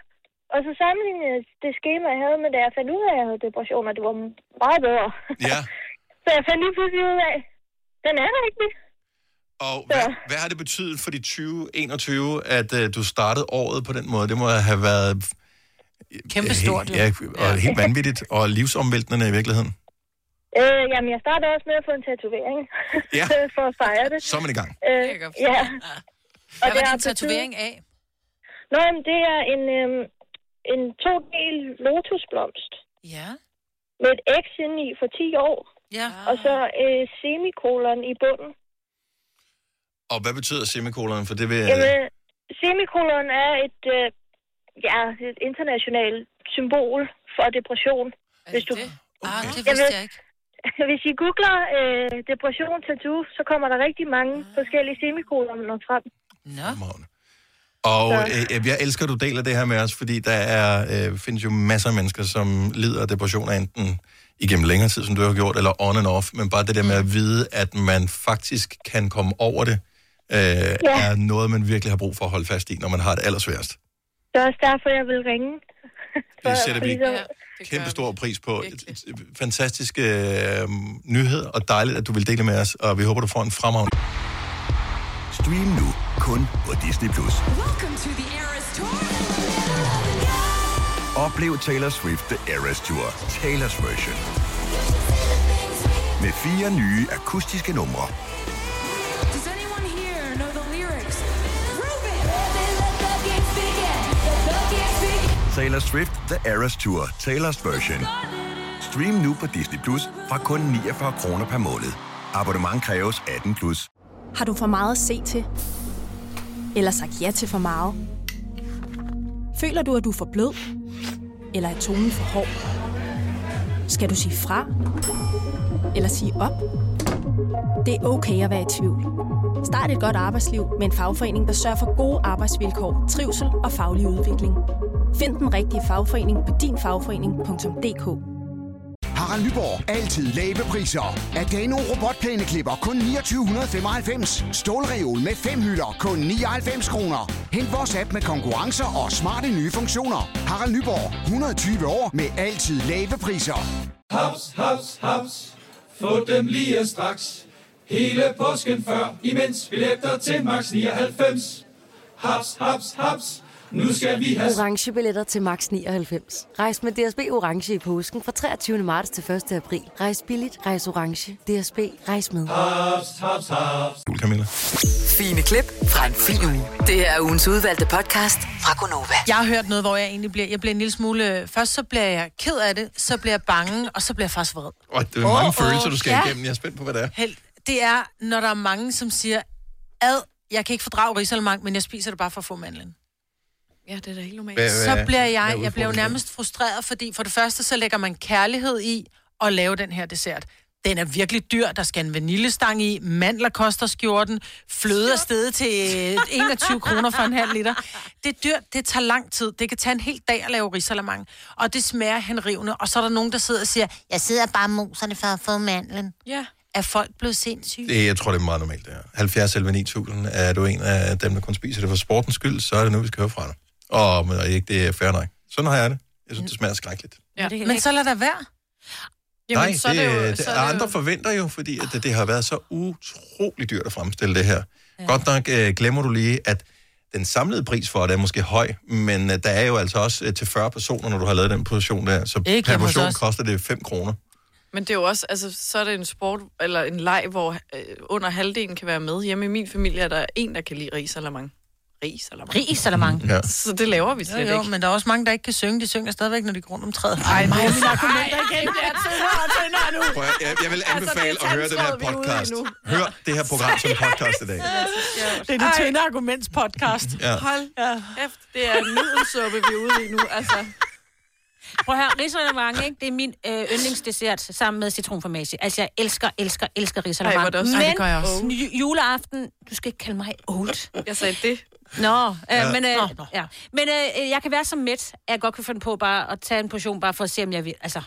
Speaker 19: Og så sammenlignede jeg det schema, jeg havde med, da jeg fandt ud af, at jeg havde depression, og det var meget bedre.
Speaker 1: Ja.
Speaker 19: så jeg fandt lige pludselig ud af, den er der ikke.
Speaker 1: Og hvad, hvad har det betydet for dit 2021, at uh, du startede året på den måde? Det må have været... øh,
Speaker 2: Kæmpe stort, jo.
Speaker 1: Ja, og helt vanvittigt, og livsomvæltende i virkeligheden.
Speaker 19: Øh, jamen, jeg startede også med at få en tatovering.
Speaker 1: Ja.
Speaker 19: for at fejre det.
Speaker 1: Så er man i gang.
Speaker 19: Øh, ja.
Speaker 2: Hvad var
Speaker 19: har
Speaker 2: din tatovering
Speaker 19: betydet- altså Nå, jamen, det er en, øhm, en todel lotusblomst.
Speaker 2: Ja.
Speaker 19: Med et X indeni for 10 år.
Speaker 2: Ja.
Speaker 19: Og så øh, semikolon i bunden.
Speaker 1: Og hvad betyder semikolon? For det vil... øh,
Speaker 19: Jamen, semikolon er et, øh, ja, et internationalt symbol for depression. hvis du...
Speaker 2: Okay. Ah, det
Speaker 19: vidste jeg ikke. Hvis I googler øh, depression tattoo, så kommer der rigtig mange forskellige semikoloner frem.
Speaker 1: Og øh, jeg elsker, at du deler det her med os, fordi der er, øh, findes jo masser af mennesker, som lider af depressioner, enten igennem længere tid, som du har gjort, eller on and off, men bare det der med at vide, at man faktisk kan komme over det, øh, ja. er noget, man virkelig har brug for at holde fast i, når man har det allersværst.
Speaker 19: Det er også derfor, jeg vil ringe.
Speaker 1: Det sætter vi
Speaker 19: ligesom-
Speaker 1: kæmpe stor pris på. Fantastiske øh, nyhed, og dejligt, at du vil dele med os, og vi håber, du får en fremragende.
Speaker 9: Stream nu kun på Disney+. Plus. Oplev Taylor Swift The Eras Tour, Taylor's version. Med fire nye akustiske numre. Taylor Swift The Eras Tour, Taylor's version. Stream nu på Disney Plus fra kun 49 kroner per måned. Abonnement kræves 18 plus.
Speaker 20: Har du for meget at se til? Eller sagt ja til for meget? Føler du, at du er for blød? Eller er tonen for hård? Skal du sige fra? Eller sige op? Det er okay at være i tvivl. Start et godt arbejdsliv med en fagforening, der sørger for gode arbejdsvilkår, trivsel og faglig udvikling. Find den rigtige fagforening på dinfagforening.dk.
Speaker 21: Harald Nyborg. Altid lave priser. Adano robotplæneklipper kun 2995. Stålreol med fem hylder kun 99 kroner. Hent vores app med konkurrencer og smarte nye funktioner. Harald Nyborg. 120 år med altid lave priser.
Speaker 22: Haps, haps, haps. Få dem lige straks. Hele påsken før, imens vi læfter til max 99. Haps, haps, haps. Nu skal vi have...
Speaker 3: orange billetter til max 99. Rejs med DSB orange i påsken fra 23. marts til 1. april. Rejs billigt, rejs orange. DSB rejs med.
Speaker 22: Haps, haps, haps.
Speaker 1: Jul, Camilla.
Speaker 6: Fine klip fra en fin uge. Det her er ugens udvalgte podcast fra Gonova.
Speaker 2: Jeg har hørt noget, hvor jeg egentlig bliver... Jeg bliver en lille smule... Først så bliver jeg ked af det, så bliver jeg bange, og så bliver jeg faktisk vred.
Speaker 1: Åh, det er mange
Speaker 2: Åh,
Speaker 1: følelser,
Speaker 2: åh,
Speaker 1: du skal
Speaker 2: ja.
Speaker 1: igennem. Jeg er spændt på, hvad det er.
Speaker 2: Held, det er, når der er mange, som siger, ad, jeg kan ikke fordrage risalemang, men jeg spiser det bare for at få mandlen.
Speaker 4: Ja, det er da helt normalt.
Speaker 1: Hvad- hvad-
Speaker 2: så bliver
Speaker 1: hvad er
Speaker 2: jeg, jeg bliver jo
Speaker 1: udfordringen?
Speaker 2: nærmest frustreret, fordi for det første, så lægger man kærlighed i at lave den her dessert. Den er virkelig dyr, der skal en vaniljestang i, mandler koster skjorten, fløde er stedet til øh, 21 kroner for en halv liter. Det er dyrt, det tager lang tid, det kan tage en hel dag at lave risalamang, og det smager henrivende, og så er der nogen, der sidder og siger, jeg sidder bare og moser det for at få mandlen.
Speaker 4: Ja.
Speaker 2: Er folk blevet sindssyge?
Speaker 1: Det, jeg tror, det er meget normalt, det her. 70 11 9000, er du en af dem, der kun spiser det for sportens skyld, så er det nu, vi skal høre fra dig. Og, men, og ikke, det er fair nok. Sådan har jeg det. Jeg synes, det smager skrækkeligt.
Speaker 4: Ja.
Speaker 2: Men så lad der være.
Speaker 1: Jamen, Nej, så det, det, jo, det, så andre det forventer jo, fordi at det, det har været så utrolig dyrt at fremstille det her. Ja. Godt nok øh, glemmer du lige, at den samlede pris for det er måske høj, men øh, der er jo altså også øh, til 40 personer, når du har lavet den portion der, så
Speaker 4: Ikke
Speaker 1: per
Speaker 4: hjemme hos
Speaker 1: portion
Speaker 4: os.
Speaker 1: koster det 5 kroner.
Speaker 4: Men det er jo også, altså, så er det en sport, eller en leg, hvor øh, under halvdelen kan være med. Hjemme i min familie er der en, der kan lide risalamang. Risalamang.
Speaker 2: Risalamang.
Speaker 1: Ja.
Speaker 4: Så det laver vi slet
Speaker 2: jo, jo,
Speaker 4: ikke.
Speaker 2: men der er også mange, der ikke kan synge. De synger stadigvæk, når de går rundt om træet. Ej, nej, mine argumenter igen bliver tyndere og tyndere nu.
Speaker 1: Prøv, at- jeg, jeg vil anbefale altså, at høre den her podcast. Hør det her program som podcast i dag.
Speaker 2: Det er det tynde arguments podcast.
Speaker 1: Ja.
Speaker 4: Hold ja. kæft, det er nudelsuppe, vi er ude i nu. Altså,
Speaker 5: Prøv at høre, risalamang, ikke? Det er min øh, yndlingsdessert sammen med citronformage. Altså, jeg elsker, elsker, elsker
Speaker 4: Ej,
Speaker 5: risalamang.
Speaker 4: hvor er det også-
Speaker 5: Men
Speaker 4: Ej, det gør jeg også.
Speaker 5: ju- juleaften, du skal ikke kalde mig old.
Speaker 4: jeg sagde det.
Speaker 5: Nå, øh,
Speaker 4: Ja.
Speaker 5: ja. men, øh,
Speaker 4: Nå, nå.
Speaker 5: Ja. men øh, jeg kan være så mæt, at jeg godt kan finde på bare at tage en portion, bare for at se, om jeg vil. Altså,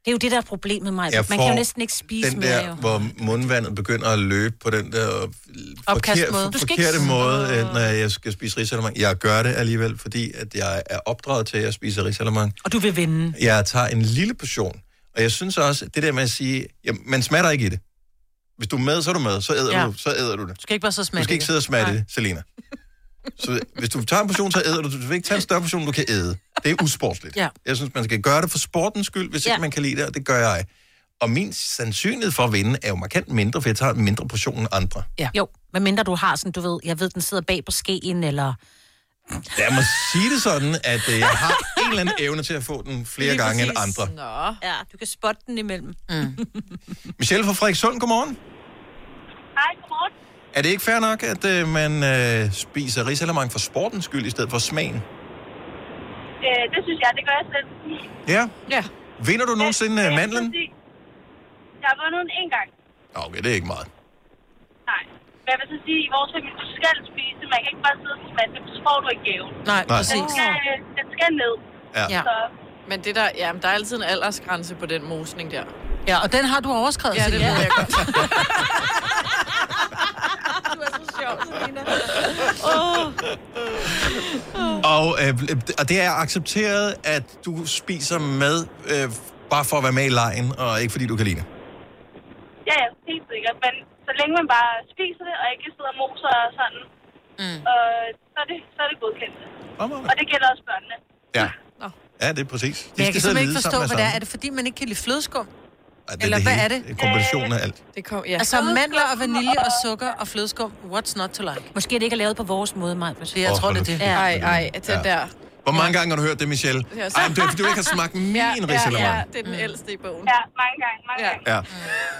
Speaker 5: det er jo det, der er problemet med mig.
Speaker 1: Jeg
Speaker 5: Altså, Man kan jo
Speaker 1: får
Speaker 5: næsten ikke spise
Speaker 1: den
Speaker 5: mere,
Speaker 1: der,
Speaker 5: jo.
Speaker 1: hvor mundvandet begynder at løbe på den der forkerte,
Speaker 5: Opkastmåde.
Speaker 1: for,
Speaker 5: Du skal ikke
Speaker 1: forkerte
Speaker 5: s-
Speaker 1: måde, øh, når jeg skal spise risalamang. Jeg gør det alligevel, fordi at jeg er opdraget til, at jeg spiser risalamang.
Speaker 5: Og du vil vinde.
Speaker 1: Jeg tager en lille portion, og jeg synes også, at det der med at sige, jamen, man smatter ikke i det. Hvis du er med, så er du med, så æder,
Speaker 2: Ja.
Speaker 1: ja. du, så æder du det.
Speaker 2: Du skal ikke bare så
Speaker 1: Du
Speaker 2: smage
Speaker 1: skal ikke sidde og smage det, Selina. Så hvis du tager en portion, så æder du. det. Du vil ikke tage en større portion, du kan æde. Det er usportsligt.
Speaker 2: Ja.
Speaker 1: Jeg synes, man skal gøre det for sportens skyld, hvis ja.
Speaker 2: Ja.
Speaker 1: ikke man kan lide det, og det gør jeg. Og min sandsynlighed for at vinde er jo markant mindre, for jeg tager en mindre portion end andre.
Speaker 5: Ja. Jo, medmindre du har sådan, du ved, jeg ved, den sidder bag på skeen, eller...
Speaker 1: Jeg må sige det sådan, at øh, jeg har en eller anden evne til at få den flere
Speaker 5: Lige
Speaker 1: gange end
Speaker 5: præcis.
Speaker 1: andre.
Speaker 4: Nå.
Speaker 5: Ja, du kan spotte den imellem. Mm.
Speaker 1: Michelle fra Frederikssund, godmorgen.
Speaker 15: Hej, godmorgen.
Speaker 1: Er det ikke fair nok, at øh, man øh, spiser risalamang for sportens skyld i stedet for smagen?
Speaker 15: Øh, det synes jeg, det gør jeg selv.
Speaker 1: Ja.
Speaker 4: ja.
Speaker 1: Vinder du nogensinde øh, mandlen?
Speaker 15: Jeg har er vundet den en gang.
Speaker 1: Nå, Okay, det er ikke meget.
Speaker 15: Nej. Men jeg vil så sige, at i vores familie, du skal spise. Man kan ikke bare sidde og smage det, så får du ikke gaven.
Speaker 2: Nej,
Speaker 1: Nej. præcis.
Speaker 15: Den skal, øh, den skal ned.
Speaker 1: Ja.
Speaker 15: Ja. Så,
Speaker 4: Men det der, ja, men der er altid en aldersgrænse på den mosning der.
Speaker 2: Ja, og den har du overskrevet.
Speaker 4: Ja, det
Speaker 2: Selina.
Speaker 4: ved jeg godt.
Speaker 5: Du er så sjov, Selina.
Speaker 1: Og, øh, og det er accepteret, at du spiser med øh, bare for at være med i lejen, og ikke fordi du kan lide det.
Speaker 15: ja, ja, helt sikkert. Men så længe man bare spiser det, og ikke sidder og moser og sådan, mm. øh, så, er det, så er det godkendt. Og det gælder også børnene.
Speaker 1: Ja. Ja, det er præcis.
Speaker 2: Men jeg kan simpelthen ikke
Speaker 1: lide
Speaker 2: forstå,
Speaker 1: sammen
Speaker 2: hvad
Speaker 1: med
Speaker 2: det er.
Speaker 1: sammen.
Speaker 2: Er det fordi, man ikke kan lide flødeskum?
Speaker 1: Ej, det er
Speaker 2: Eller
Speaker 1: det
Speaker 2: hvad
Speaker 1: hele.
Speaker 2: er det?
Speaker 1: Det er kombinationen af alt.
Speaker 4: Det kom, ja.
Speaker 2: Altså mandler og vanilje og sukker og flødeskum. What's not to like?
Speaker 5: Måske det ikke er lavet på vores måde, Maja. Det,
Speaker 2: jeg
Speaker 1: Åh,
Speaker 2: tror, det er
Speaker 1: hold nu
Speaker 2: det.
Speaker 4: Ej,
Speaker 1: kæft,
Speaker 4: ej, det
Speaker 1: Ja. altså
Speaker 4: der.
Speaker 1: Hvor mange gange har du hørt det, Michelle?
Speaker 4: Ja, så-
Speaker 1: Ej, men det er fordi, du ikke har smagt min ja, risalamande.
Speaker 4: Ja, ja, det er den ældste i bogen.
Speaker 15: Mm. Ja, mange gange, mange ja. gange.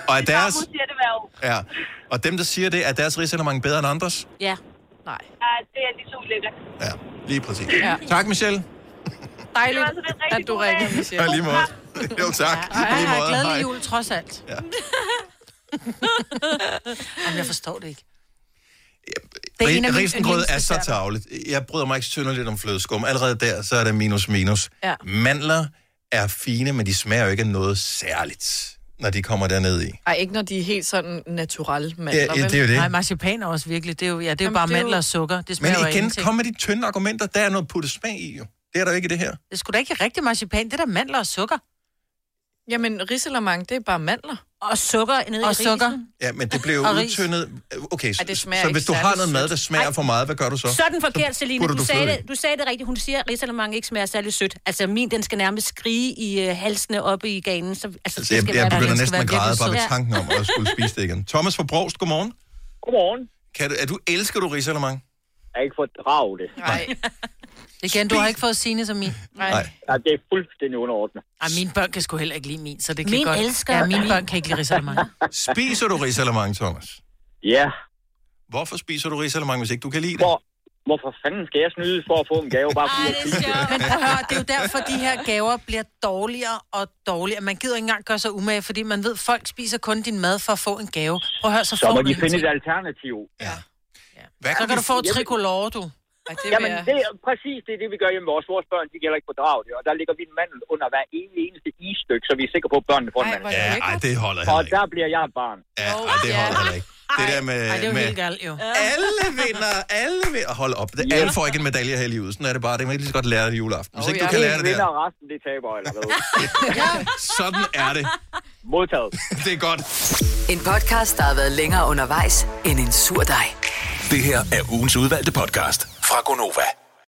Speaker 1: Ja. Og er deres,
Speaker 15: Hun siger det hver år.
Speaker 1: ja. og dem, der siger det, er deres risalamande bedre end andres?
Speaker 5: Ja.
Speaker 4: Nej.
Speaker 15: Ja, det er lige så ulækkert.
Speaker 1: Ja, lige præcis.
Speaker 4: Ja.
Speaker 1: Ja. Tak, Michelle.
Speaker 4: Dejligt,
Speaker 15: Det var altså lidt
Speaker 4: at du
Speaker 15: rigtig god
Speaker 4: ringede,
Speaker 15: dag.
Speaker 4: Michelle.
Speaker 1: Ja, lige måde. Jo, tak.
Speaker 2: Ej,
Speaker 1: Lige
Speaker 2: jeg
Speaker 1: måde.
Speaker 2: har
Speaker 1: Hej.
Speaker 2: glædelig jul, trods alt.
Speaker 1: Ja.
Speaker 2: Jamen, jeg forstår det ikke. Det er en af
Speaker 1: Ri-
Speaker 2: mine
Speaker 1: Risengrød er så
Speaker 2: yndlingsdesserter.
Speaker 1: tavligt. Jeg bryder mig ikke synderligt om flødeskum. Allerede der, så er det minus minus.
Speaker 4: Ja.
Speaker 1: Mandler er fine, men de smager jo ikke af noget særligt, når de kommer derned i.
Speaker 4: Ej, ikke når de er helt sådan naturelle mandler,
Speaker 1: Ja, ja, det er jo det.
Speaker 2: Nej, marcipan er også virkelig. Det er jo, ja, det er jo
Speaker 4: Jamen,
Speaker 2: bare
Speaker 4: det er jo-
Speaker 2: mandler og sukker. Det
Speaker 1: Men
Speaker 2: smager jo af
Speaker 1: igen,
Speaker 2: ingenting.
Speaker 1: kom med de tynde argumenter. Der er noget puttet smag i, jo. Det er der jo ikke i det her.
Speaker 2: Det skulle da ikke rigtig marcipan. Det er da mandler og sukker.
Speaker 4: Jamen, risalamang, det er bare mandler.
Speaker 5: Og sukker nede
Speaker 4: og
Speaker 5: i
Speaker 4: sukker.
Speaker 1: Ja, men det blev jo
Speaker 4: Og ris.
Speaker 1: udtyndet. Okay, så,
Speaker 5: Ej, det smager
Speaker 1: så
Speaker 5: ikke
Speaker 1: hvis du
Speaker 5: særlig
Speaker 1: har noget mad,
Speaker 5: sødt.
Speaker 1: der smager
Speaker 5: Ej.
Speaker 1: for meget, hvad gør du så?
Speaker 5: Sådan forkert,
Speaker 1: Så
Speaker 5: Selina.
Speaker 1: putter
Speaker 5: Du,
Speaker 1: du
Speaker 5: sagde
Speaker 1: fløde i.
Speaker 5: det, du sagde det rigtigt. Hun siger, at risalemang ikke smager særlig sødt. Altså, min, den skal nærmest skrige i øh, halsene oppe i ganen. Så, altså, det
Speaker 1: Så jeg,
Speaker 5: skal
Speaker 1: jeg
Speaker 5: være-
Speaker 1: begynder
Speaker 5: den skal
Speaker 1: næsten at
Speaker 5: være
Speaker 1: græde
Speaker 5: virkelig
Speaker 1: bare ved
Speaker 5: sød.
Speaker 1: tanken om at skulle spise det igen. Thomas fra Brogst, godmorgen.
Speaker 23: Godmorgen.
Speaker 1: Kan du, er du, elsker du risalemang?
Speaker 23: Jeg har ikke fået draget det.
Speaker 2: Nej. Igen, du har ikke fået sine som min. Nej.
Speaker 23: Ja, det er fuldstændig underordnet.
Speaker 2: Ej, mine børn kan sgu heller ikke lide min, så det kan
Speaker 23: Min
Speaker 2: godt...
Speaker 23: elsker-
Speaker 2: Ja, mine børn kan ikke lide risalemang.
Speaker 1: Spiser du risalemang, Thomas?
Speaker 23: Ja.
Speaker 1: Hvorfor spiser du risalemang, hvis ikke du kan lide det?
Speaker 23: Hvor, hvorfor fanden skal jeg snyde for at få en gave? Bare fordi
Speaker 2: Ej,
Speaker 23: jeg
Speaker 2: det er
Speaker 23: synes,
Speaker 2: sjovt. Men prøv at høre, det er jo derfor, de her gaver bliver dårligere og dårligere. Man gider ikke engang gøre sig umage, fordi man ved, at folk spiser kun din mad for at få en gave. Prøv at høre, så,
Speaker 23: Så
Speaker 2: får
Speaker 23: må
Speaker 2: du
Speaker 23: de finde
Speaker 2: ingenting.
Speaker 23: et alternativ. Ja.
Speaker 1: Hvad
Speaker 2: Så kan du få et tricolore, du. Ej,
Speaker 23: Det Jamen, det er præcis det, er det, vi gør hjemme med os. Vores børn, de kan heller ikke fordrage det. Og der ligger vi en mandel under hver ene, eneste isstykke, så vi er sikre på, at børnene får en mandel.
Speaker 1: Ja, ej, det holder
Speaker 23: Og
Speaker 1: heller ikke.
Speaker 23: der bliver jeg et barn.
Speaker 1: Ja, ej, det holder heller ikke. Det der med...
Speaker 23: Ej, det er jo
Speaker 1: med
Speaker 23: helt
Speaker 2: galt, jo.
Speaker 1: Alle vinder, alle vinder. Hold op. Det, alle får ikke en medalje her i livet. Sådan er det bare. Det kan man lige så godt lære det i juleaften. Hvis ikke du kan lære det
Speaker 23: vinder,
Speaker 1: der,
Speaker 23: og resten, det taber, eller hvad?
Speaker 1: sådan er det.
Speaker 23: Modtaget.
Speaker 1: Det er godt.
Speaker 6: En podcast, der har været længere undervejs end en sur dej.
Speaker 24: Det her er ugens udvalgte podcast fra Gonova.